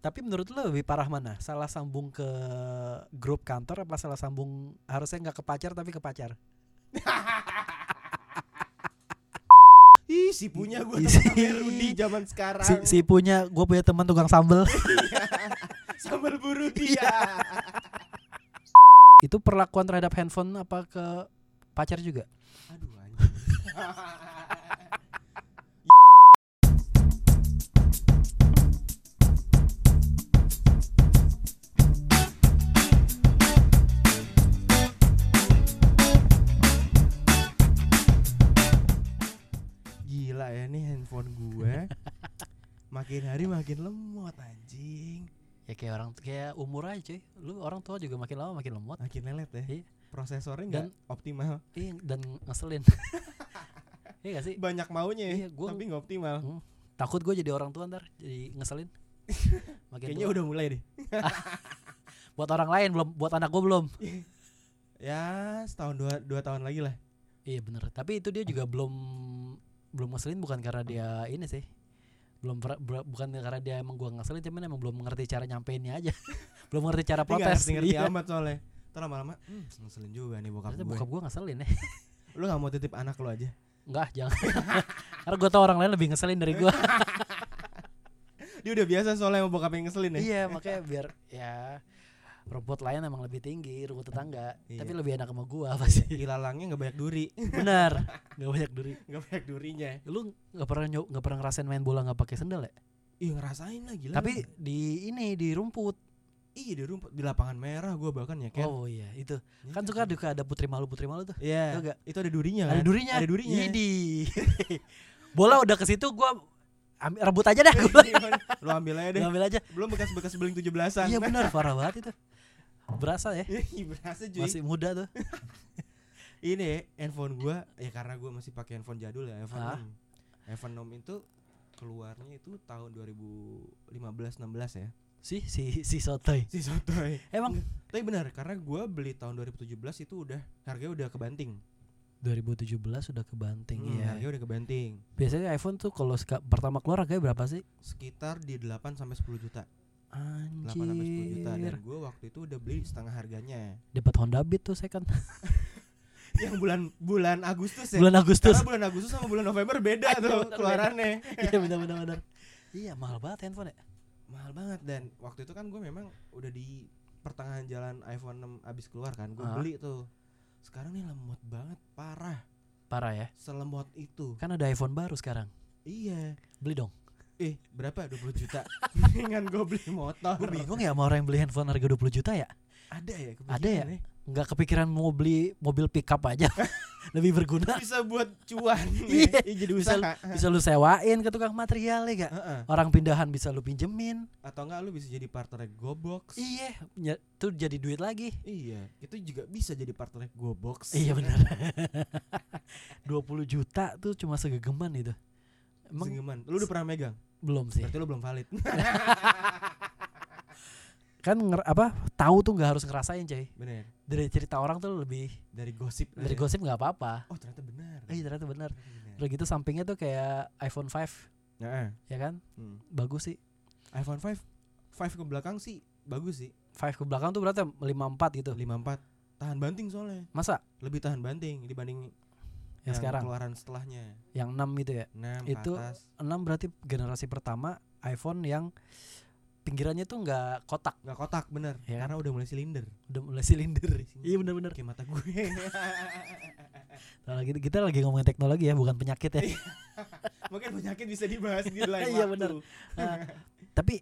Tapi menurut lo lebih parah mana? Salah sambung ke grup kantor apa salah sambung harusnya nggak ke pacar tapi ke pacar? Ih, si punya gue Ih, sama si- Rudi zaman sekarang. Si, si punya, gue punya teman tukang sambel. Sambal buru Iya. dia. Itu perlakuan terhadap handphone apa ke pacar juga? Aduh anjing. Gila ya nih handphone gue. makin hari makin lemot anjing. Ya kayak orang kayak umur aja cuy. Lu orang tua juga makin lama makin lemot. Makin lelet ya. Iya. Prosesornya nggak optimal. Iya, dan ngeselin. Iya gak sih? Banyak maunya ya, Iya, gua- tapi nggak optimal. Takut gue jadi orang tua ntar jadi ngeselin. Makin Kayaknya tua. udah mulai deh. buat orang lain belum, buat anak gue belum. Ya, setahun dua, dua tahun lagi lah. Iya bener Tapi itu dia juga belum belum ngeselin bukan karena dia ini sih. Belum ber- ber- bukan karena dia emang gua ngeselin cuman emang belum mengerti cara nyampeinnya aja. belum mengerti cara Tapi nggak protes. ngerti Iya. amat soalnya. Ntar lama-lama, hmm, ngeselin juga nih bokap Ternyata gue. bokap gua ngeselin ya. Lu gak mau titip anak lu aja? Enggak, jangan. karena gua tau orang lain lebih ngeselin dari gua. Dia udah biasa soalnya sama bokap yang ngeselin ya. iya, makanya biar ya rumput lain emang lebih tinggi, rumput tetangga. Iya. Tapi lebih enak sama gua pasti. Ilalangnya gak banyak duri. Benar. Gak banyak duri. gak banyak durinya. Lu nggak pernah nyob, nggak pernah ngerasain main bola nggak pakai sendal ya? Ih ngerasain lah gila. Tapi di ini di rumput. iya di rumput di lapangan merah gue bahkan ya kan. Oh iya, itu. Iya Kan suka duka ada putri malu putri malu tuh. Tau Iya. nggak? Itu ada durinya kan. Ada durinya. Ada durinya. Idi. Bola udah ke situ gua ambil rebut aja dah gua. lu ambil aja deh. Gua ambil aja. Belum bekas-bekas beling 17-an. Iya benar parah banget itu. Berasa ya. Iya, berasa cuy. Masih muda tuh. ini handphone gua ya karena gua masih pakai handphone jadul ya iPhone Ah. 6 iPhone 6 itu keluarnya itu tahun 2015 16 ya Si si si sotoy. si sotoy Emang tapi benar karena gua beli tahun 2017 itu udah harganya udah kebanting 2017 sudah kebanting Hmm, ya. harganya udah kebanting Biasanya iPhone tuh kalau seka- pertama keluar harganya berapa sih? sekitar di 8 sampai 10 juta 8 sampai 10 juta dan Anjir. gua waktu itu udah beli setengah harganya Dapat Honda Beat tuh second yang bulan bulan Agustus ya bulan Agustus. karena bulan Agustus sama bulan November beda Iya, tuh bener, keluarannya Iya benar benar benar. Iya mahal banget handphone ya. mahal banget dan waktu itu kan gue memang udah di pertengahan jalan iPhone 6 abis keluar kan gue Ah. beli tuh sekarang nih lemot banget parah Parah ya. selemot itu Kan ada iPhone baru sekarang. iya Beli dong. eh berapa 20 juta mendingan gue beli motor Gue bingung ya sama orang yang beli handphone harga 20 juta ya. ada ya kepikiran Ada ya? nggak kepikiran mau beli mobil pickup aja lebih berguna bisa buat cuan Iya, ya. Ih, jadi bisa- usaha bisa lu sewain ke tukang material ya gak Heeh. orang pindahan bisa lu pinjemin atau enggak lu bisa jadi partner GoBox iya ny- tuh jadi duit lagi iya itu juga bisa jadi partner GoBox Kan? iya benar 20 juta tuh cuma segegeman itu emang Iya. Senggeman. lu udah pernah megang belum sih berarti lu belum valid kan nger- apa tahu tuh nggak harus ngerasain cuy bener dari cerita orang tuh lebih dari gosip dari aja. gosip nggak apa-apa oh ternyata benar eh Iya. ternyata benar Ternyata benar. udah gitu sampingnya tuh kayak iPhone 5 Heeh. ya kan Hmm. bagus sih iPhone 5 5 ke belakang sih bagus sih 5 ke belakang tuh berarti 54 gitu 54 tahan banting soalnya masa lebih tahan banting dibanding yang, sekarang keluaran setelahnya yang 6 gitu ya 6 Itu- ke atas 6 berarti generasi pertama iPhone yang pinggirannya tuh nggak kotak nggak kotak bener Ya karena udah mulai silinder udah mulai silinder Silinder. iya benar-benar kayak mata gue Nah, lagi kita lagi ngomongin teknologi ya bukan penyakit ya mungkin penyakit bisa dibahas di lain Iya, waktu bener. Ah, tapi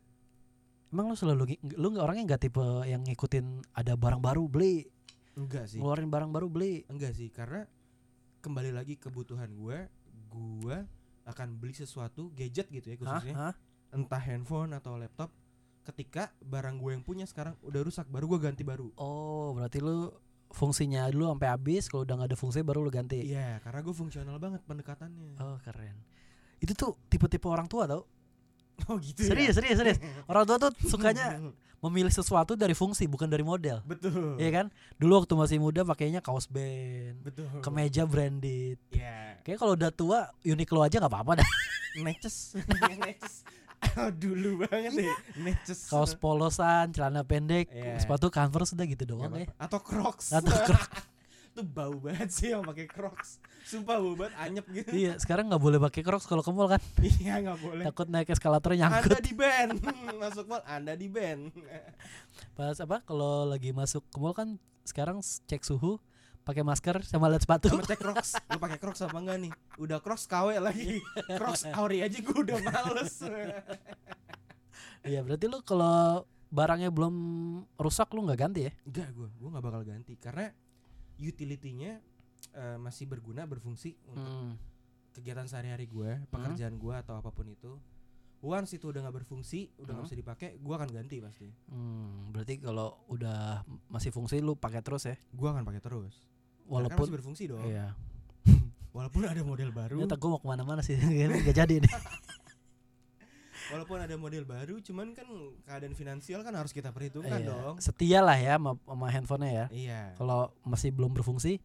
emang lu selalu ngi- lu nggak orangnya nggak tipe yang ngikutin ada barang baru beli enggak sih ngeluarin barang baru beli enggak sih karena kembali lagi kebutuhan gue gue akan beli sesuatu gadget gitu ya Hah? khususnya Hah? entah handphone atau laptop ketika barang gue yang punya sekarang udah rusak baru gue ganti baru oh berarti lu fungsinya dulu sampai habis kalau udah nggak ada fungsi baru lu ganti Iya, karena gue fungsional banget pendekatannya. oh keren itu tuh tipe-tipe orang tua tau Oh gitu. serius serius serius orang tua tuh sukanya memilih sesuatu dari fungsi bukan dari model. betul. Iya kan? Dulu waktu masih muda pakainya kaos band, Betul. kemeja branded. Iya. Kayaknya kalau udah tua Uniqlo aja nggak apa-apa dah. Neces. Neces. dulu banget deh Neces. Iya. kaos polosan celana pendek Iya. sepatu converse udah gitu Nggak doang ya apa-apa. atau Crocs atau tuh bau banget sih yang pakai Crocs sumpah bau banget anyep gitu iya sekarang nggak boleh pakai crocs kalau ke mall kan iya nggak boleh takut naik eskalatornya nyangkut anda di band masuk mal anda di band pas apa kalau lagi masuk ke mall kan sekarang s- cek suhu pakai masker sama lihat sepatu sama cek Crocs lu pakai Crocs apa enggak nih udah Crocs KW lagi Crocs Auri aja gue udah males iya berarti lu kalau barangnya belum rusak lu nggak ganti ya enggak gue gue nggak bakal ganti karena utility-nya eh, masih berguna berfungsi Hmm. untuk kegiatan sehari-hari gue pekerjaan gue atau apapun itu once itu udah nggak berfungsi udah nggak Hmm. bisa dipakai gue akan ganti pasti Hmm, berarti kalau udah m- masih fungsi lu pakai terus ya gue akan pakai terus Karena kan walaupun masih berfungsi dong Iya, iya walaupun ada model baru ternyata gue mau kemana-mana sih Kayaknya nggak jadi nih walaupun ada model baru cuman kan keadaan finansial kan harus kita perhitungkan Iya. dong setia lah ya sama, sama handphonenya ya iya kalau masih belum berfungsi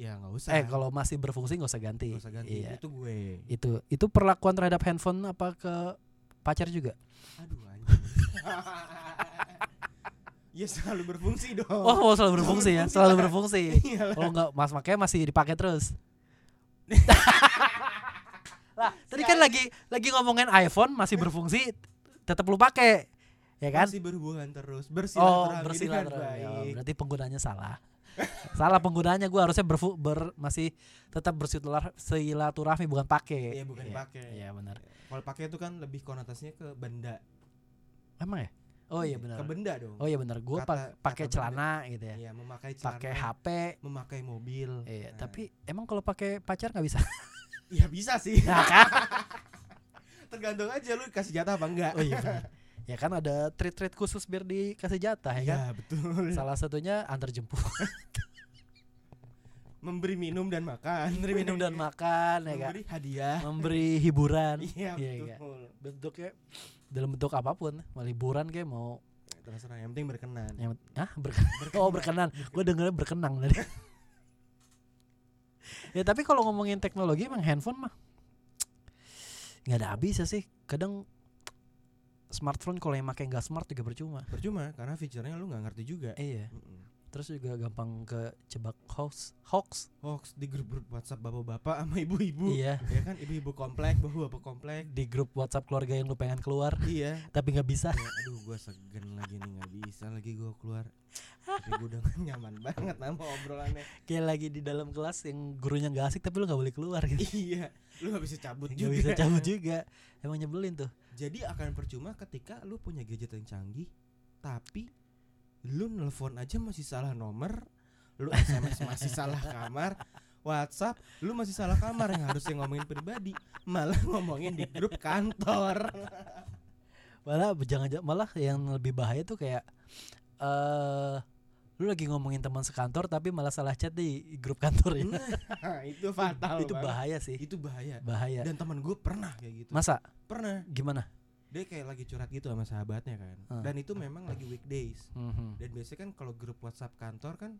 ya nggak usah eh kalau masih berfungsi nggak usah ganti, Nggak usah ganti Iya. itu gue itu itu perlakuan terhadap handphone apa ke pacar juga aduh anjing ya selalu berfungsi dong Iya, oh, oh, selalu berfungsi ya berfungsi, selalu Pak. berfungsi Iyalah. kalau nggak mas makanya masih dipakai terus lah tadi kan lagi lagi ngomongin iPhone masih berfungsi tetap lu pakai ya kan masih berhubungan terus oh bersilaturahmi dengan bersilaturahmi Oh, kan baik berarti penggunanya salah salah penggunanya gue harusnya berfu ber masih tetap bersilaturahmi bukan pakai Iya, bukan pakai. iya benar kalau pakai itu kan lebih konotasinya ke benda emang ya oh iya benar ke benda dong oh iya benar gue Kata- pakai kata celana gitu ya Iya, memakai celana pakai HP memakai mobil Iya, Nah, tapi emang kalau pakai pacar nggak bisa. ya bisa sih Ya kan? tergantung aja lu kasih jatah apa enggak Oh iya benar. Ya kan ada treat-treat khusus biar dikasih jatah ya kan. ya betul Salah satunya antar jemput, memberi minum dan makan memberi minum dan makan ya kan. memberi hadiah Memberi hiburan. iya Iya, betul iya. Bentuknya dalam bentuk apapun, mau liburan kayak mau terserah yang penting berkenan yang ah berkenan. Oh, berkenan. Gue dengernya berkenang tadi. ya tapi kalau ngomongin teknologi emang handphone mah nggak ada habisnya sih. Kadang smartphone kalau yang pakai nggak smart juga percuma. percuma karena fiturnya lu nggak ngerti juga Iya. Mm-mm. Terus juga gampang ke jebak hoax, hoax. hoax di grup grup WhatsApp bapak-bapak sama ibu-ibu Iya. ya kan ibu-ibu komplek bapak-bapak komplek di grup WhatsApp keluarga yang lu pengen keluar iya tapi nggak bisa. Ya, aduh gue segen lagi nih nggak bisa lagi gue keluar tapi gue udah nggak nyaman banget sama obrolannya Kayak lagi di dalam kelas yang gurunya nggak asik tapi lu nggak boleh keluar gitu. iya lu nggak bisa cabut Nggak juga bisa cabut juga. Emang nyebelin tuh. jadi akan percuma ketika lu punya gadget yang canggih tapi lu nelpon aja masih salah nomor lu sms masih salah kamar WhatsApp, lu masih salah kamar yang harusnya ngomongin pribadi, malah ngomongin di grup kantor. Malah jangan jangan- malah yang lebih bahaya tuh kayak eh lu lagi ngomongin teman sekantor tapi malah salah chat di grup kantor ya. Nah, itu fatal. Itu banget. bahaya sih. Itu Iya. bahaya. Bahaya. Dan teman gue pernah kayak gitu. Masa Pernah. gimana? Dia kayak lagi curhat gitu sama sahabatnya kan. Hmm. Dan itu memang lagi weekdays. Mhm. Dan biasanya kan kalau grup WhatsApp kantor kan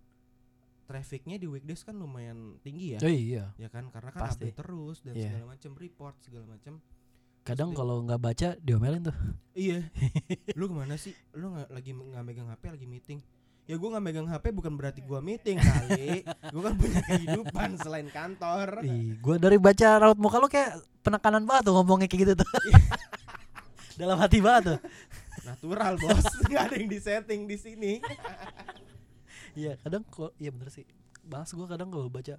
trafficnya di weekdays kan lumayan tinggi ya. Oh iya, ya kan karena kan Pasti. update terus dan Iya. segala macam report segala macam kadang Pasti. kalau nggak baca diomelin tuh. iya lu kemana sih lu nggak lagi me- nggak megang hp lagi meeting ya gua nggak megang hp bukan berarti gua meeting kali gua kan punya kehidupan selain kantor Ih, gua dari baca raut muka lu kayak penekanan banget tuh ngomongnya kayak gitu tuh. Iya. Dalam hati banget tuh. natural bos nggak ada yang disetting di sini Iya kadang kok iya bener sih Bahas gue kadang kalau baca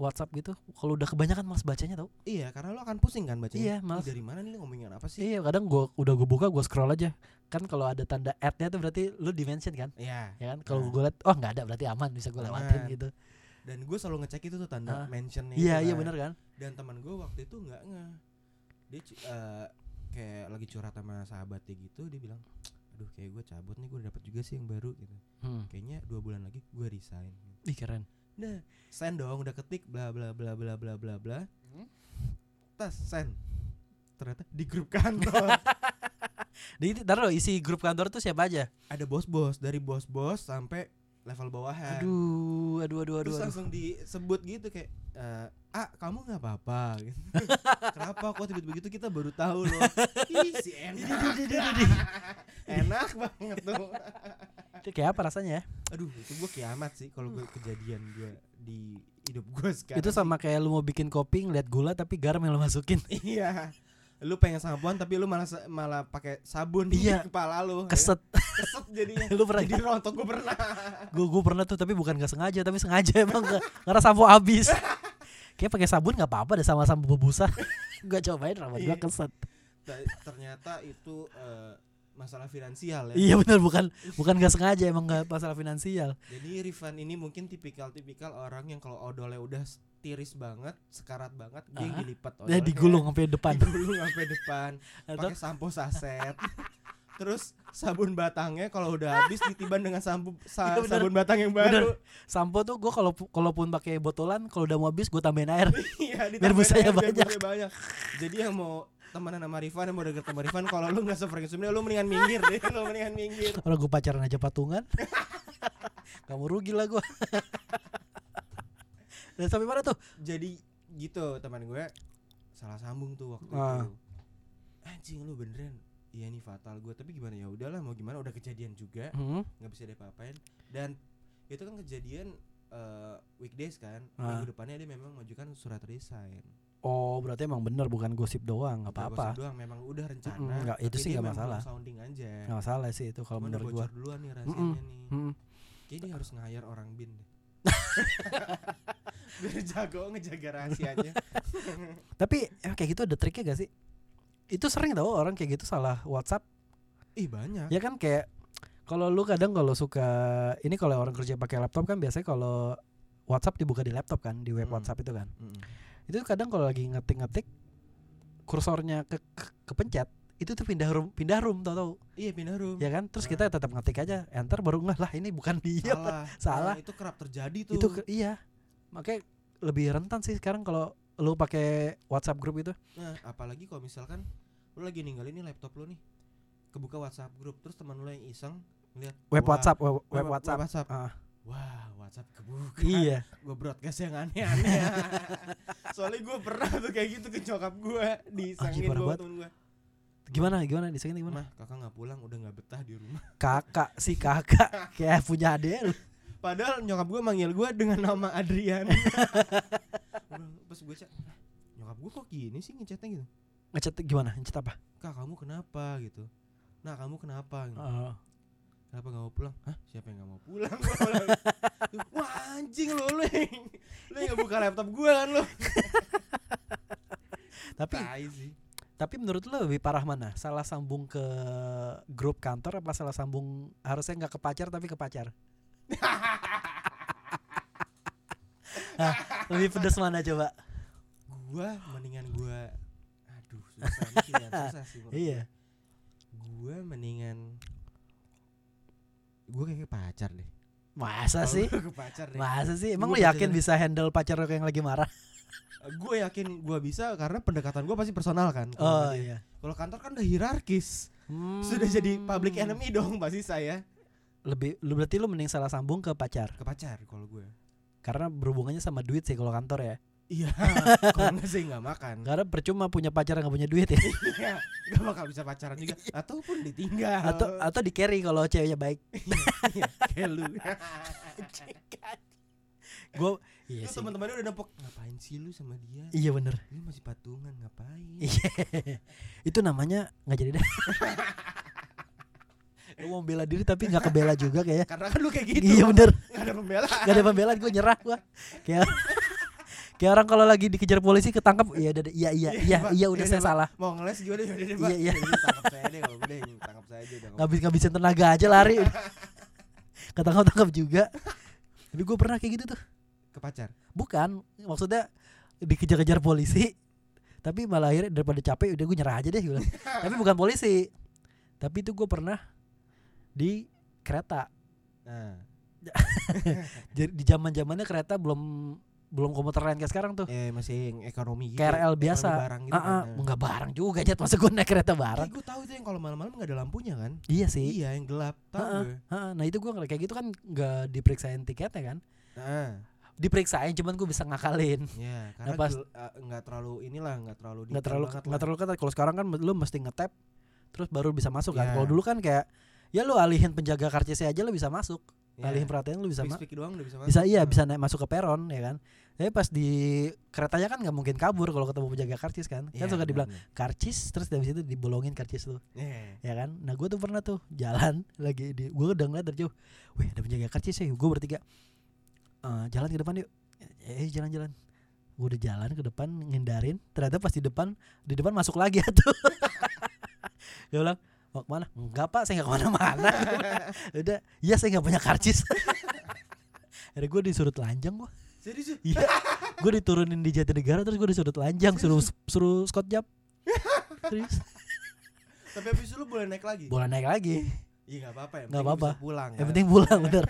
WhatsApp gitu kalau udah kebanyakan malas bacanya tau iya karena lu akan pusing kan bacanya Iya, malas. Ini dari mana nih lu ngomongin apa sih Iya kadang gua udah gue buka gue scroll aja Kan kalau ada tanda add-nya tuh berarti lu dimention kan Iya, Ya kan kalau Nah. gue liat oh nggak ada berarti aman bisa gue lewatin Aman. gitu dan gue selalu ngecek itu tuh tanda Ah. mentionnya itu Iya iya kan. bener kan dan teman gue waktu itu nggak ngeh dia cu- eh, kayak lagi curhat sama sahabatnya gitu dia bilang aduh kayak gue cabut nih gue dapat juga sih yang baru gitu hmm. kayaknya dua bulan lagi gue resign Ih keren nah send dong udah ketik bla bla bla bla bla bla bla tas send ternyata di grup kantor Jadi taruh isi grup kantor tuh siapa aja ada bos-bos dari bos-bos sampai level bawahan Aduh aduh aduh aduh, terus aduh. langsung disebut gitu kayak eh, ah kamu nggak apa-apa gitu. kenapa kok tiba-tiba gitu kita baru tahu loh ih si enak enak banget tuh Itu kayak apa rasanya ya? aduh itu gue kiamat sih kalau gue kejadian gue di hidup gue sekarang Itu sama kayak lu mau bikin kopi ngeliat gula tapi garam yang lu masukin. iya lu pengen sampoan tapi lu malah sa- malah pakai sabun Iya. di kepala lu ya. Keset. keset jadinya lu pernah jadi rontok gue pernah gue gue pernah tuh tapi bukan nggak sengaja tapi sengaja emang nggak karena sampo habis kayak pakai sabun nggak apa-apa deh sama sampo bebusa gue cobain rambut gue Iya. keset T- ternyata itu eh, masalah finansial ya iya benar bukan bukan nggak sengaja emang nggak masalah finansial jadi Rifan ini mungkin tipikal-tipikal orang yang kalau odolnya udah s- tiris banget sekarat banget dia yang Ah. dilipat dia odolnya. digulung sampai depan digulung sampai depan atau pakai sampo saset terus sabun batangnya kalau udah habis ditiban dengan sampo sa- Iya, bener. sabun batang yang baru sampo tuh gue kalau kalaupun pakai botolan kalau udah mau habis gue tambahin air iya Biar ditambahin busanya air, biar banyak. busanya banyak jadi yang mau temenan sama Rifan yang mau deket sama Rifan kalau lu nggak sefrekuensi sama dia, lu mendingan minggir deh lu mendingan minggir kalau gue pacaran aja patungan kamu rugi lah gue dan sampai mana tuh jadi gitu teman gue salah sambung tuh waktu Ah. itu anjing lu beneran iya nih fatal gue tapi gimana ya udahlah mau gimana udah kejadian juga Hmm, nggak bisa diapa-apain dan itu kan kejadian eh, weekdays kan Ah. minggu depannya dia memang majukan surat resign oh berarti emang bener bukan gosip doang nggak Udah apa-apa gosip doang memang udah rencana Mm-mm, nggak, itu tapi sih dia nggak memang masalah. sounding aja nggak masalah sih itu kalau Cuman udah menurut gue bocor duluan nih rahasianya Mm-mm. nih Hmm. Kayaknya dia harus ngayar orang bin deh. Biar jago ngejaga rahasianya. Tapi eh, kayak gitu ada triknya gak sih? Itu sering tau orang kayak gitu salah WhatsApp. Ih banyak. Ya kan kayak kalau lu kadang kalau suka ini kalau orang kerja pakai laptop kan biasanya kalau WhatsApp dibuka di laptop kan di web Hmm. WhatsApp itu kan. Mm-mm. Itu kadang kalau lagi ngetik-ngetik kursornya ke, ke- kepencet itu tuh pindah room pindah room tau tau Iya pindah room. ya kan terus kita tetap ngetik aja enter baru nggak lah ini bukan dia Salah. Iya, Salah. Nah, itu kerap terjadi tuh. itu ke- iya makanya lebih rentan sih sekarang kalau lu pakai WhatsApp grup itu Nah, apalagi kalau misalkan lu lagi ninggalin nih laptop lu nih. Kebuka WhatsApp grup terus teman lu yang iseng ngeliat web wah, WhatsApp web, web, web WhatsApp WhatsApp. Ah. Wah, WhatsApp kebuka. iya gue broadcast yang aneh-aneh soalnya gue pernah tuh kayak gitu ke nyokap gue parah disangin gue sama banget. temen gue gimana gimana disengin gimana mah kakak nggak pulang udah nggak betah di rumah kakak si kakak kayak punya adik lu padahal nyokap gue manggil gue dengan nama Adrian pas gue cek "Hah, nyokap gue kok gini sih ngechatnya gitu ngecat gimana ngecat apa kak kamu kenapa gitu nah kamu kenapa gitu. Oh. kenapa nggak mau pulang Hah, siapa yang nggak mau pulang Gua bilang. wah anjing lu lu yang, lu yang nggak buka laptop gue kan lu tapi Tai sih tapi menurut lu lebih parah mana salah sambung ke grup kantor apa salah sambung harusnya nggak ke pacar tapi ke pacar Hah, lebih pedes mana coba gua mendingan gua aduh susah ini pilihan susah sih menurut Iya. gua. gua mendingan gua kayak ke pacar deh masa Kalau sih gua ke pacar deh masa sih emang Gua lu pacar yakin deh. bisa handle pacar lu yang lagi marah gua yakin gua bisa karena pendekatan gua pasti personal kan oh kalau dia. iya kalau kantor kan udah hierarkis sudah jadi public Hmm. enemy dong pasti saya lebih lu berarti lu mending salah sambung ke pacar ke pacar kalau gua karena berhubungannya sama duit sih kalau kantor ya iya kalau nggak sih nggak makan Karena percuma punya pacar yang gak punya duit ya. Iya, nggak bakal bisa pacaran juga ataupun ditinggal Atau atau di carry kalau ceweknya baik. Iya, kayak lu Gue iya Terus sih. teman-temannya udah nempok ngapain sih lu sama dia Iya bener Lu masih patungan ngapain? Iya. Itu namanya nggak jadi deh. Lu mau bela diri tapi nggak kebela juga kayaknya. Karena kan lu kayak gitu. Iya bener Iya. Gak ada pembelaan. Gak ada pembelaan gue nyerah gue. Kayak kayak orang kalau lagi dikejar polisi ketangkap iya udah deh, iya iya Iya, iya Pak. iya udah Iya, saya Pak. salah. Mau ngeles gimana ya udah deh, Pak. Iya, iya. Ini tangkap saya deh kalau udah ini tangkap saya aja udah. Ngabis ngabisin tenaga aja lari. Ketangkap tangkap juga. Tapi gue pernah kayak gitu tuh. Ke pacar. Bukan, maksudnya dikejar-kejar polisi. Tapi malah akhirnya daripada capek udah gue nyerah aja deh. gua bilang. tapi bukan polisi. Tapi itu gue pernah di kereta. Nah, Jadi di zaman zamannya kereta belum belum komuter lain kayak sekarang tuh. eh masih yang ekonomi gitu. KRL ekonomi biasa. Barang gitu. Ah, ah, nggak barang juga Jat Masa gue naik kereta barang gue tahu itu yang kalau malam-malam gak ada lampunya kan? Iya sih Iya, yang gelap. Tahu Ah, ah. gue. Ah, ah. Nah itu gue kayak gitu kan nggak diperiksain tiketnya kan Nah, diperiksain cuman gue bisa ngakalin Ya, karena pas- gel- eh, nggak terlalu inilah, nggak terlalu nggak detail terlalu banget nggak lah. terlalu ketat kalau sekarang kan lu mesti ngetap terus baru bisa masuk kan Iya. kalau dulu kan kayak ya lu alihin penjaga karcisnya aja lu bisa masuk Ya, alihin perhatian lu bisa ma- speak-speak doang udah bisa bisa iya Hmm. bisa naik masuk ke peron ya kan tapi pas di keretanya kan nggak mungkin kabur kalau ketemu penjaga karcis kan kan Iya, suka dibilang benar-benar. karcis terus dari situ dibolongin karcis lu Iya. ya kan nah gue tuh pernah tuh jalan lagi di gue udah ngeliat dari jauh wih ada penjaga karcis ya gue bertiga Eh jalan ke depan yuk eh jalan-jalan gue udah jalan ke depan ngindarin ternyata pas di depan di depan masuk lagi tuh gue bilang mau kemana enggak pak saya nggak kemana-mana Gua bilang, udah iya saya nggak punya karcis Akhirnya gue disuruh telanjang gue Serius lu? Iya. gue diturunin di Jatinegara terus gue disuruh telanjang suruh suruh Scott Jab. Terus Tapi habis itu lu boleh naik lagi. bola naik lagi. Iya enggak apa-apa ya. Nggak penting lu apa-apa. bisa Pulang. Yang kan? penting pulang bener.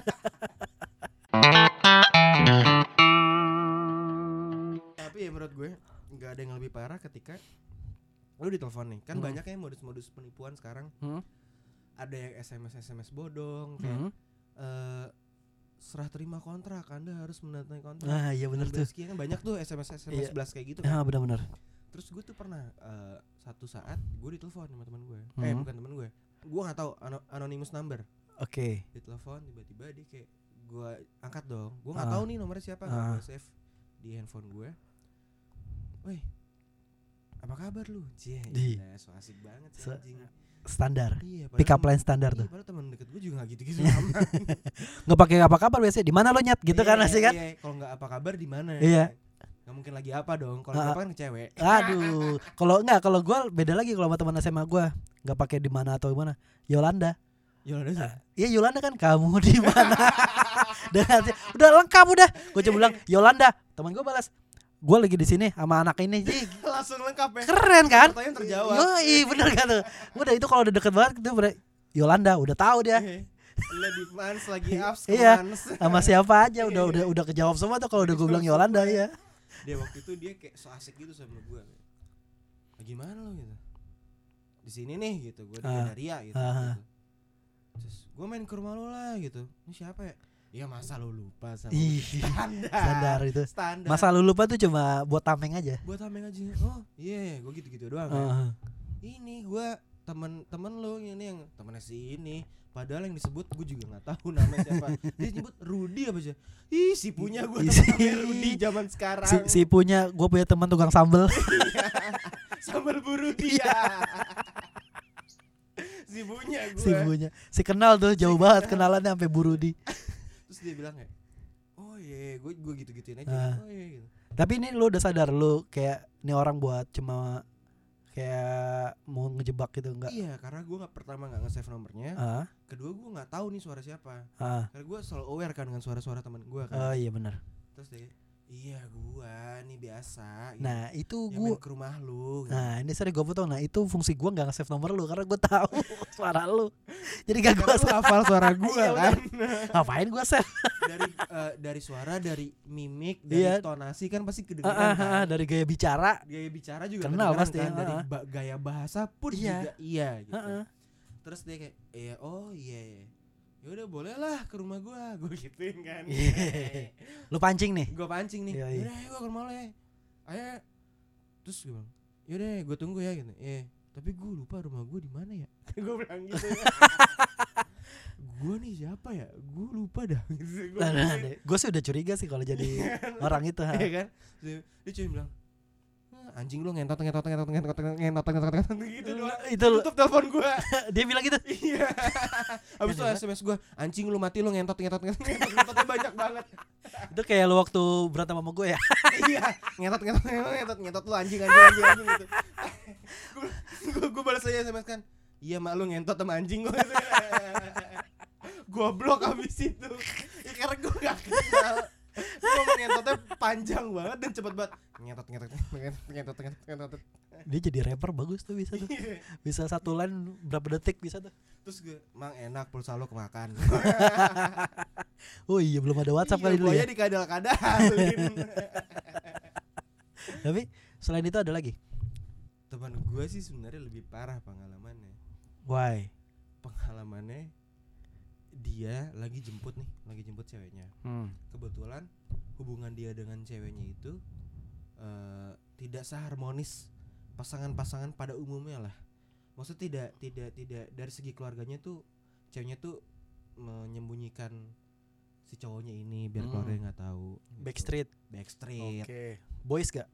Tapi ya menurut gue nggak ada yang lebih parah ketika lu ditelepon nih. Kan Hmm. banyak ya modus-modus penipuan sekarang. Hmm. Ada yang SMS SMS bodong kayak eh, serah terima kontrak, Anda harus menandatangani kontrak. Ah iya bener tuh. Sekian kan banyak tuh SMS Iya. SMS blast kayak gitu. kan. Ah benar-benar. Terus gue tuh pernah eh, satu saat gue ditelepon sama teman gue. Eh Mhm. bukan teman gue. Gue nggak tahu ano- anonymous number. Oke. Ditelepon tiba-tiba dia kayak gue angkat dong. Gue nggak Ah. tahu nih nomornya siapa. nggak Ah. gue save di handphone gue. Woi, apa kabar lu? Cie, Di. gila, so asik banget sih So- anjing. Standar. Iya, Pick up temen- line standar Iya, tuh. Iya, padahal teman deket gue juga gak gitu-gitu amat. Nggak pakai apa kabar biasanya. Di mana lo nyet gitu kan Iya, masih kan? iya, Kalau nggak apa kabar di mana? Iya. Gak mungkin lagi apa dong? Kalau Ah. nggak apa kan ke cewek. Aduh. Kalau enggak kalau gua beda lagi kalau sama teman SMA gua nggak pakai di mana atau gimana. Yolanda. Ya udah sih. Iya Yolanda kan kamu di mana? Dengan si- udah lengkap udah. Gue coba bilang Yolanda. Teman gue balas, gue lagi di sini sama anak ini. Ji, Langsung lengkap ya. keren kan? Pertanyaan terjawab. Yoi, bener kan tuh. Udah itu kalau udah deket banget itu bener, Yolanda udah tahu dia Iya. Lebih mans lagi abs ke Iya. mans. sama siapa aja udah Iya. udah udah kejawab semua tuh kalau udah gue bilang Yolanda ya. Dia waktu itu dia kayak so asik gitu sama gue. "Ah, Gimana lo gitu? Di sini nih gitu, gue di Ah. Gandaria gitu. Ah. gitu. Terus gue main ke rumah lo lah gitu. Ini siapa ya? Iya masa lo lupa sama gua?" Ih, standar itu. Standar. Masa lu lupa tuh cuma buat tameng aja. buat tameng aja. Oh, iya, gue gitu-gitu doang. ya. Heeh. Ini gua temen-temen lo ini yang temennya si ini padahal yang disebut gue juga nggak tahu nama siapa dia nyebut Rudi apa sih ih si punya gue Ih, temen si- Rudi zaman sekarang si, si punya gue punya teman tukang sambel. sambal buru Iya. dia si punya gue si punya. Si kenal tuh jauh banget kenalannya sampai Burudi. terus dia bilang kayak oh iya gue gue gitu gituin aja Ah. oh iya gitu Tapi ini lu udah sadar lu kayak ini orang buat cuma kayak mau ngejebak gitu enggak? iya karena gue nggak pertama nggak nge-save nomornya Ah, kedua gue nggak tahu nih suara siapa ah. karena gue selalu aware kan dengan suara-suara teman gue kan Oh iya benar. terus dia iya gua nih biasa gitu. Nah, itu Yang gua main ke rumah lu gitu. Nah, ini sering gue potong. Nah, itu fungsi gua nggak nge-save nomor lu karena gue tahu suara lu. Jadi gak gue Karena Iya, lu hafal suara gua Iya, kan ngapain gue save? dari eh, dari suara dari mimik dari Iya. tonasi kan pasti kedengeran Ah, ah, ah, ah, kan? dari gaya bicara. gaya bicara juga Kenal kedengeran pasti, kan? dari ah, ah. ba- gaya bahasa pun Iya. juga iya gitu Ah, ah. terus dia kayak iya oh iya iya ya udah boleh lah ke rumah gua gua gituin kan Iya. Lu pancing nih. gua pancing nih Iya, yaudah iya. ayo gua ke rumah lo ya ayo terus gue bilang yaudah gua tunggu ya gitu iya tapi gua lupa rumah gua di mana ya gua bilang gitu gua nih siapa ya gua lupa dah gitu gua gituin. Nah, gue sih udah curiga sih kalau jadi orang itu. ha. Iya kan Terus dia- dia cuma bilang "Ah, anjing lu ngentot ngentot ngentot ngentot ngentot ngentot ngentot ngentot gitu doang itu lu- tutup telepon gua dia bilang gitu. Iya. Abis itu Iya, SMS gua, anjing lu mati lu ngentot ngentot ngentot ngentot ngentotnya banyak banget. Itu kayak lu waktu berantem sama gue ya. Iya, ngentot ngentot ngentot ngentot ngentot lu anjing anjing anjing, anjing gitu. Gua- gua gua balas aja SMS kan. Iya mak lu ngentot sama anjing gua. gitu. gua blok abis itu. Ya, karena gua gak kenal. Gua mau ngentotnya panjang banget dan cepet banget. Ngentot ngentot ngentot ngentot ngentot ngentot. Dia jadi rapper bagus tuh bisa tuh. Iya. Bisa satu line berapa detik bisa tuh. Terus gue, mang enak pulsa lu kemakan. Oh iya belum ada WhatsApp Iya, kali dulu buaya ya. dikadal-kadalin. Tapi selain itu ada lagi. teman gue sih sebenarnya lebih parah pengalamannya Why? pengalamannya dia lagi jemput nih lagi jemput ceweknya kebetulan hubungan dia dengan ceweknya itu eh, tidak seharmonis pasangan-pasangan pada umumnya lah maksud tidak tidak tidak dari segi keluarganya tuh ceweknya tuh menyembunyikan si cowoknya ini biar Hmm. keluarga nggak tahu gitu. Backstreet. backstreet Boys gak?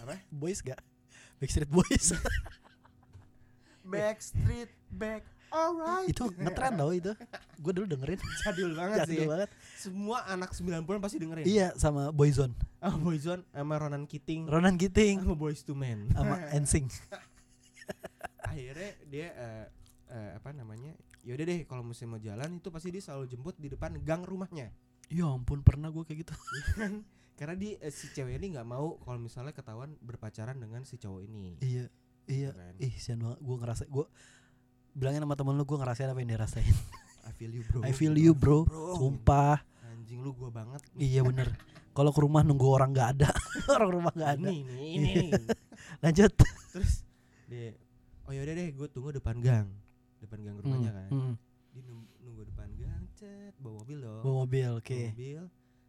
Apa? Boys gak? Backstreet Boys. backstreet back alright itu ngetren loh itu. Gue dulu dengerin. jadul banget sih Jadul banget. semua anak 90-an pasti dengerin Iya sama Boyzone. sama Boyzone sama Ronan Keating Ronan Giting sama Boys to Men sama Ensing. akhirnya dia eh, eh, apa namanya yaudah deh kalau musim mau jalan itu pasti dia selalu jemput di depan gang rumahnya Iya kan? Ya ampun pernah gue kayak gitu. karena di eh, si cewek ini nggak mau kalau misalnya ketahuan berpacaran dengan si cowok ini kan? Iya. Iya. Keren. Ih, sian banget. Gue ngerasa gue bilangin sama temen lu gue ngerasain apa yang dia rasain. I feel you bro I feel you, bro. Sumpah. anjing lu gua banget Iya bener. Kalau ke rumah nunggu orang nggak ada, orang rumah nggak ada. Iya. ini ini, ini nih. Lanjut. terus dia oh yaudah deh gue tunggu depan gang depan gang rumahnya kan Hmm, hmm. dia nung- nunggu depan gang cet bawa mobil dong Bawa mobil, oke. Bawa mobil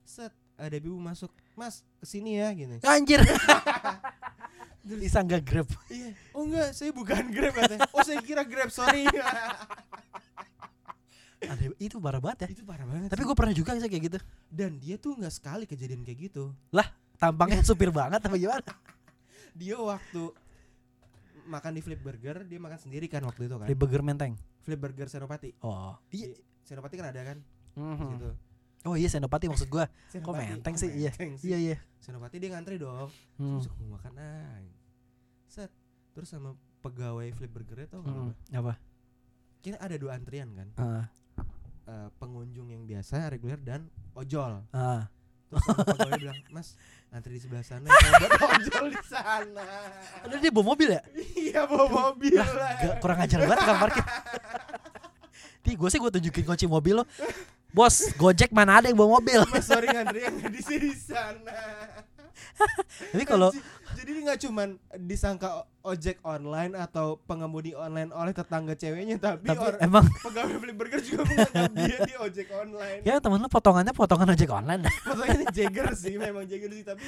set ada ibu masuk mas kesini ya gini Anjir. Bisa nggak grab? Iya. Oh enggak, saya bukan Grab katanya. Oh, saya kira Grab, sorry. Ada- itu parah banget ya. itu parah banget. Tapi sih. gue pernah juga sih kayak gitu. dan dia tuh enggak sekali kejadian kayak gitu. Tampangnya supir banget apa gimana? Dia waktu makan di Flip Burger, dia makan sendiri kan waktu itu kan. Dari Burger Menteng. Flip Burger Senopati. Oh. Iya. Di- Senopati kan ada kan di Mhm. situ. Oh iya Senopati maksud gue. Senopati. Menteng Kok sih? Iya. Menteng sih? Iya iya. Senopati dia ngantri dong. Hmm. Masuk mau makan ah. Set. Terus sama pegawai Flip Burger tau nggak Hmm. apa? Apa? Kira ada dua antrian kan. Ah. Eh, pengunjung yang biasa, reguler dan ojol. Ah. Terus sama pegawai bilang, "Mas, antri di sebelah sana, ya." saya buat ojol di sana." Aduh, dia bawa mobil ya? iya, bawa mobil Gak, lah. kurang ajar banget tukang parkir. Di gue sih gue tunjukin kunci mobil lo. Bos, Gojek mana ada yang bawa mobil? Mas, sorry ngantri yang di sini di sana. Tapi kalau Anjing, jadi ini nggak cuman disangka o- ojek online atau pengemudi online oleh tetangga ceweknya, tapi, tapi orang emang pegawai Flip Burger juga menganggap dia di ojek online. ya temen lu potongannya potongan ojek online. Masalahnya Jagger sih, memang Jagger sih, tapi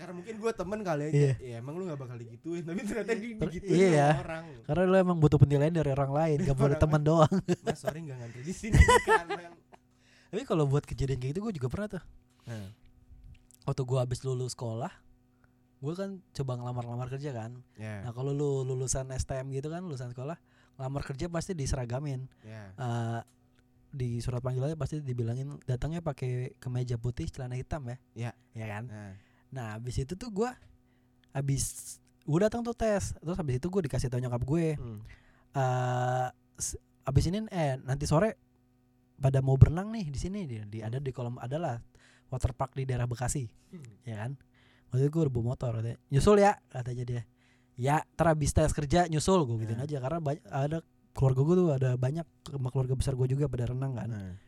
karena mungkin gue temen kali ya, Iya. ya emang lu gak bakal digituin, tapi ternyata di- Ter- digituin iya ya. sama orang. Karena lu emang butuh penilaian dari orang lain, gak boleh teman doang. Mas sorry nggak ngantri di sini di kanan. Tapi kalau buat kejadian kayak gitu gue juga pernah tuh. Nah, Waktu gue habis lulus sekolah, gue kan coba ngelamar-lamar kerja kan. ya, Nah kalau lu lulusan STM gitu kan, lulusan sekolah, ngelamar kerja pasti diseragamin. ya. Eh, di surat panggilannya pasti dibilangin datangnya pakai kemeja putih, celana hitam ya. Iya. Ya kan? Nah, Nah abis itu tuh gua abis gue datang tuh tes terus abis itu gue dikasih tau nyokap gue hmm. eh s- abis ini eh nanti sore pada mau berenang nih di sini di, di- ada di kolam adalah waterpark di daerah Bekasi Hmm. ya kan waktu itu gue udah bawa motor katanya. nyusul ya katanya dia ya ntar abis tes kerja nyusul gue gituin Nah. aja karena banyak, ada keluarga gue tuh ada banyak sama keluarga besar gue juga pada renang kan Nah,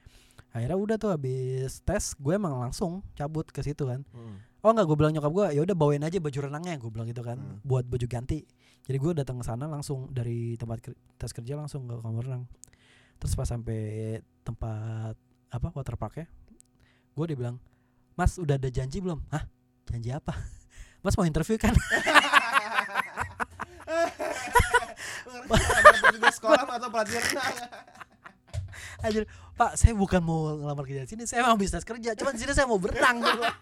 akhirnya udah tuh abis tes gue emang langsung cabut ke situ kan hmm. oh nggak gue bilang nyokap gue ya udah bawain aja baju renangnya gue bilang gitu kan Hmm. buat baju ganti jadi gue datang ke sana langsung dari tempat ker- tes kerja langsung ke kamar renang terus pas sampai tempat apa ya, waterparknya gue dibilang mas udah ada janji belum hah janji apa mas mau interview kan Ngerti nggak petugas sekolah atau pelajar renang? aja pak saya bukan mau ngelamar kerja di sini saya emang bisnis kerja cuman di sini saya mau berenang Gua bilang.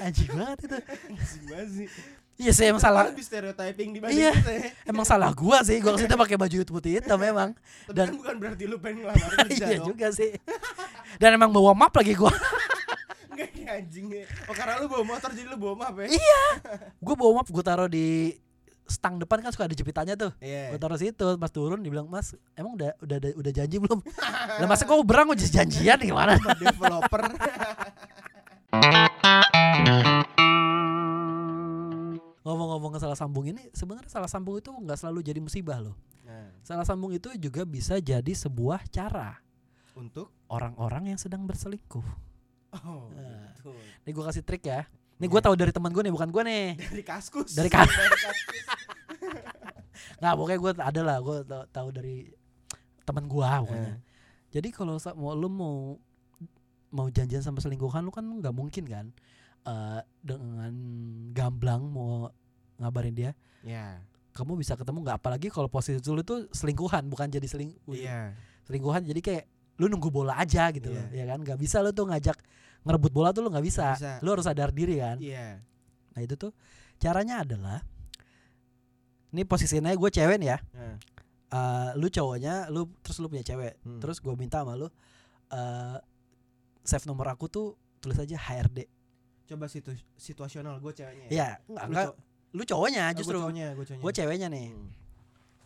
anjing banget itu Anjing banget sih. iya saya emang salah Lebih stereotyping dibanding Iya. kita ya. Emang salah gua sih, gua kesitu pakai baju putih hitam memang. Tapi Dan- kan bukan berarti lu pengen ngelamar kerja iya dong. juga sih. Dan emang bawa map lagi gua. Enggak ya anjingnya. Oh karena lu bawa motor jadi lu bawa map ya? Gua bawa map gua taruh di stang depan kan suka ada jepitannya tuh. Iya. Gua taruh situ, pas turun dibilang, "Mas, emang udah udah ada- udah janji belum?" Lah masa gua mau berang gua jadi janjian gimana? Sama Developer. Ngomong-ngomong salah sambung ini, sebenarnya salah sambung itu nggak selalu jadi musibah loh. Nah, Salah sambung itu juga bisa jadi sebuah cara untuk orang-orang yang sedang berselingkuh. oh Nah. gitu. Nih gua kasih trik ya. Nih gua tahu dari teman gua nih, bukan gua nih. Dari kaskus. Dari kas- kaskus. Nah pokoknya gue ada lah Eh. gue tahu dari teman gue pokoknya. Jadi kalau sa- mau lu mau mau janjian sama selingkuhan lu kan nggak mungkin kan eh, dengan gamblang mau ngabarin dia Ya. kamu bisa ketemu nggak apalagi kalau posisi lu tuh selingkuhan bukan jadi seling Iya. selingkuhan jadi kayak lu nunggu bola aja gitu loh, ya Iya. kan nggak bisa lu tuh ngajak ngerebut bola tuh lu nggak bisa. Nggak bisa. lu harus sadar diri kan Iya. nah itu tuh caranya adalah ini posisinya gue cewek nih ya Nah, Eh, lu cowoknya lu terus lu punya cewek hmm. terus gue minta sama lu eh save nomor aku tuh tulis aja HRD coba situ situasional gue ceweknya. ya enggak, enggak lu cowoknya justru Gue cowoknya, gue cowoknya. gue ceweknya nih Hmm.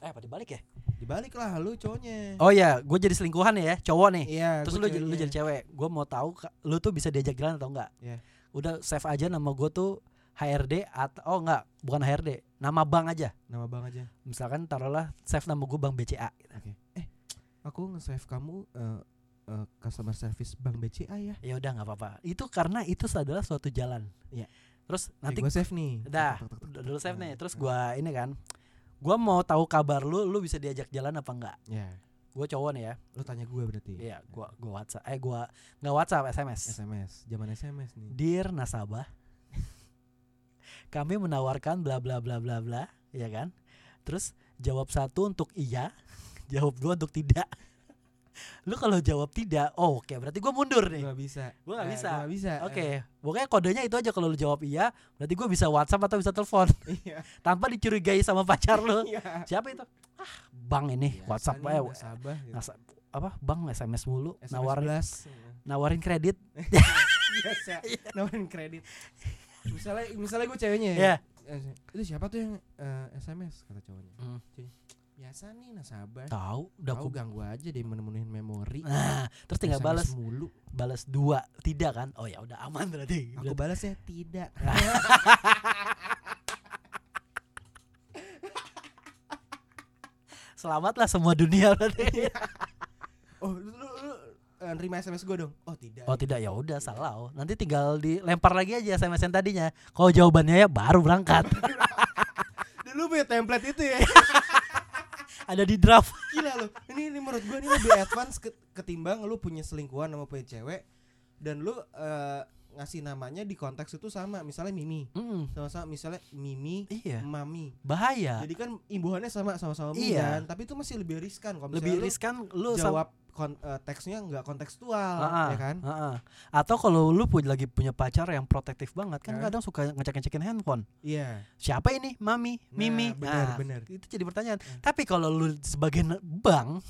eh apa dibalik ya Dibalik lah lu cowoknya. oh ya gue jadi selingkuhan ya cowok nih Iya. terus gua lu, jadi- lu ceweknya. jadi cewek gue mau tahu ka- lu tuh bisa diajak jalan atau enggak Iya. udah save aja nama gue tuh HRD atau oh enggak bukan HRD nama bank aja nama bang aja. misalkan taruhlah save nama gue bank BCA Oke. Eh, aku nge-save kamu eh eh, customer service Bank BCA ya. ya udah nggak apa-apa itu karena itu adalah suatu jalan Iya. terus Nanti nanti gue save nih. Dah, Tuk, tuk, tuk, tuk, udah tuk. dulu save nih Nah, terus nah. gua ini kan gua mau tahu kabar lu lu bisa diajak jalan apa enggak Ya, gua cowok nih ya lu tanya gue berarti. Nah, iya gua gua WhatsApp eh gua nggak WhatsApp SMS SMS, zaman SMS nih. dear nasabah kami menawarkan bla bla bla bla bla ya kan terus jawab satu untuk iya jawab dua untuk tidak lu kalau jawab tidak oh, oke berarti gua mundur nih Gua Gak bisa. Gua nggak Nah, bisa. gua nggak bisa. Oke, pokoknya kodenya itu aja kalau lu jawab iya, berarti gua bisa WhatsApp atau bisa telepon Eh, Iya. tanpa dicurigai sama pacar lu. Iya. siapa itu ah bang ini Biasa WhatsApp nih, eh nasabah gitu. nasa- apa bang SMS mulu SMS nawarin belas. nawarin kredit Biasa. Iya. Nawarin kredit. Misalnya misalnya gue ceweknya ya Eh, Itu siapa tuh yang eh, SMS kata cowoknya. Hmm. Ceweknya, Biasa nih nasabah. tahu udah aku Tahu ganggu aja dia menemuin memori. nah terus tinggal SMS balas mulu. balas dua tidak kan oh ya udah aman berarti Aku balasnya tidak. selamatlah semua dunia berarti Iya. oh, lu, lu, lu eh, nerima SMS gue dong. Oh, tidak. oh tidak ya udah salah oh. nanti tinggal dilempar lagi aja SMS yang tadinya kalau jawabannya ya baru berangkat Dulu punya template itu ya. ada di draft Gila lu. Ini, ini menurut gue ini lebih advance ke- ketimbang lu punya selingkuhan sama punya cewek dan lu eh, ngasih namanya di konteks itu sama. Misalnya Mimi. Mm-mm. Sama-sama misalnya Mimi, Hmm, iya Mami. bahaya Jadi kan imbuhannya sama sama-sama Mimi Iya. kan, tapi itu masih lebih riskan kalau misalnya lebih lu riskan lu sama- jawab kon- eh, teksnya nggak kontekstual, Ah, ya kan? ah, ah. Atau kalau lu punya lagi punya pacar yang protektif banget kan Ya. kadang suka ngecek-ngecekin handphone. Iya. Siapa ini? Mami, Nah, Mimi. Nah, benar, benar. Itu jadi pertanyaan. Ya. Tapi kalau lu sebagai ne- bank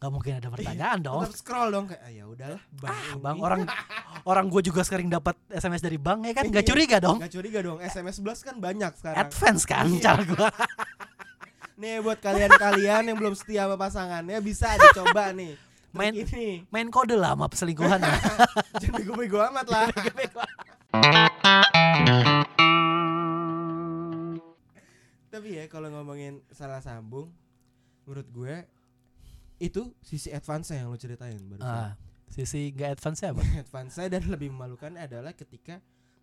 nggak mungkin Iya, ada pertanyaan dong. Tetap scroll dong kayak ah, ya udahlah, bang. ini." Nah, Bang orang orang gue juga sering dapat SMS dari bank ya kan nggak Iya. curiga dong. Gak curiga dong, SMS 11 kan banyak sekarang. Advance kan Iya. cara gua. Nih buat kalian-kalian yang belum setia sama pasangannya bisa dicoba nih. Terus Main- ini. Main kode lah sama perselingkuhan. Jangan bego-bego amat lah. Tapi ya kalau ngomongin salah sambung menurut gue itu sisi advance yang lo ceritain baru. Ah, sisi nggak advance ya, apa? advance dan lebih memalukan adalah ketika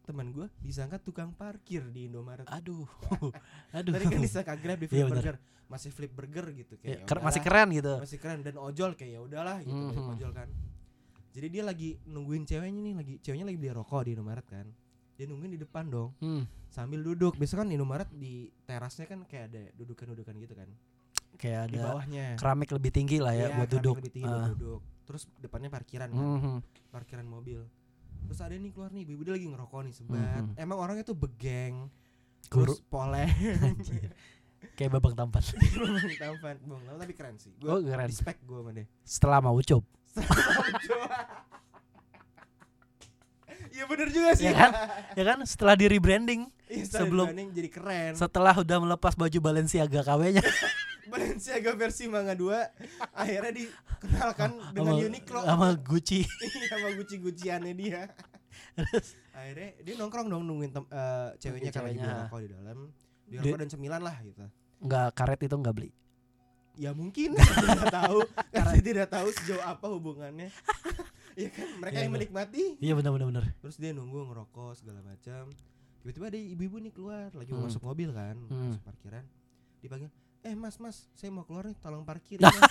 teman gue disangka tukang parkir di Indomaret. Aduh. Aduh. Tadi kan disangka Grab di Iya, Flip benar. Burger, masih Flip Burger gitu Ya, kayak. ker- "Ya masih udahlah." keren gitu. masih keren dan ojol kayak ya udahlah gitu dari Mhm. ojol kan jadi dia lagi nungguin ceweknya nih lagi ceweknya lagi beli rokok di Indomaret kan dia nungguin di depan dong Hmm, sambil duduk biasa kan Indomaret di terasnya kan kayak ada dudukan-dudukan gitu kan kayak di ada bawahnya keramik lebih tinggi lah ya, Iya, buat keramik duduk. lebih tinggi buat Ah. duduk terus depannya parkiran kan, Mhm. parkiran mobil terus ada nih keluar nih ibu dia lagi ngerokok nih sebat Mhm. emang orangnya tuh begeng Guru. terus poleh Anjir. Kayak babang tampan. Bang tampan bang Tampan tapi keren sih Oh, gue keren. respect gue sama dia Setelah mau ucup. Iya bener juga sih. Iya kan? Ya kan setelah di rebranding, Instant Sebelum- branding jadi keren. setelah udah melepas baju Balenciaga KW-nya. Balenciaga versi manga 2 akhirnya dikenalkan dengan sama- Uniqlo Iya, sama Gucci. sama guci-guciannya dia. akhirnya dia nongkrong dong nungguin tem- eh, ceweknya kan lagi beli Ceweknya. rokok di dalam. Di Dia- rokok dan cemilan lah gitu. Enggak karet itu enggak beli. Ya mungkin saya tidak tahu karena saya tidak tahu sejauh apa hubungannya. Iya kan mereka Iya, yang iya. menikmati. Iya benar benar benar. Terus dia nunggu ngerokok segala macam. Tiba-tiba ada ibu-ibu nih keluar lagi mau Hmm. masuk mobil kan, mau Hmm. masuk parkiran. Dipanggil, eh mas mas saya mau keluar nih tolong parkir ya, Mas."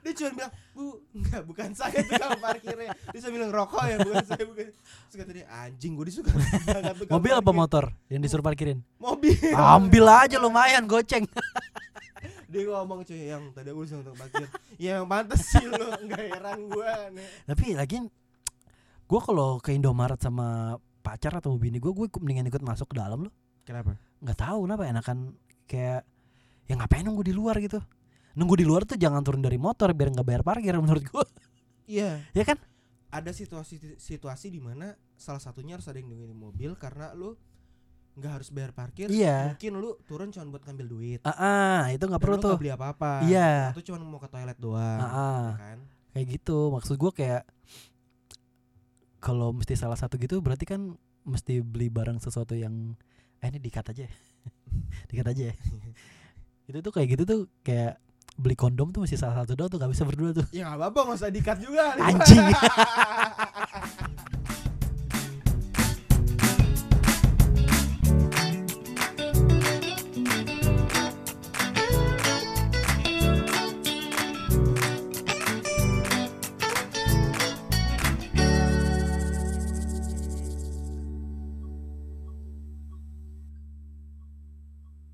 dia cuma bilang bu enggak bukan saya tukang parkirnya dia cuma bilang rokok ya bukan saya bukan terus kata dia anjing gue disuka banget tukang Mobil apa parkir." motor yang disuruh parkirin? mobil Ambil aja lumayan goceng. dia ngomong cuy yang tadi urusan untuk parkir ya yang pantas sih lu nggak heran gue nih Tapi lagi gue kalau ke Indomaret sama pacar atau bini gue, gue mendingan ikut masuk ke dalam loh. kenapa Nggak tahu kenapa enakan kayak ya ngapain nunggu di luar gitu. Nunggu di luar tuh jangan turun dari motor biar nggak bayar parkir menurut gue. iya ya kan? ada situasi situasi di mana salah satunya harus ada yang nungguin mobil karena lu nggak harus bayar parkir Iya. mungkin lu turun cuma buat ngambil duit Ah, ah, itu nggak Dan perlu lu tuh. beli apa apa Iya. atau cuma mau ke toilet doang Ah, ah. ya kan kayak gitu maksud gua kayak kalau mesti salah satu gitu berarti kan mesti beli barang sesuatu yang eh ini dikat aja ya. dikat aja ya. itu tuh kayak gitu tuh kayak beli kondom tuh mesti salah satu doang tuh gak bisa berdua tuh Ah, ya nggak apa-apa nggak usah dikat juga Anjing.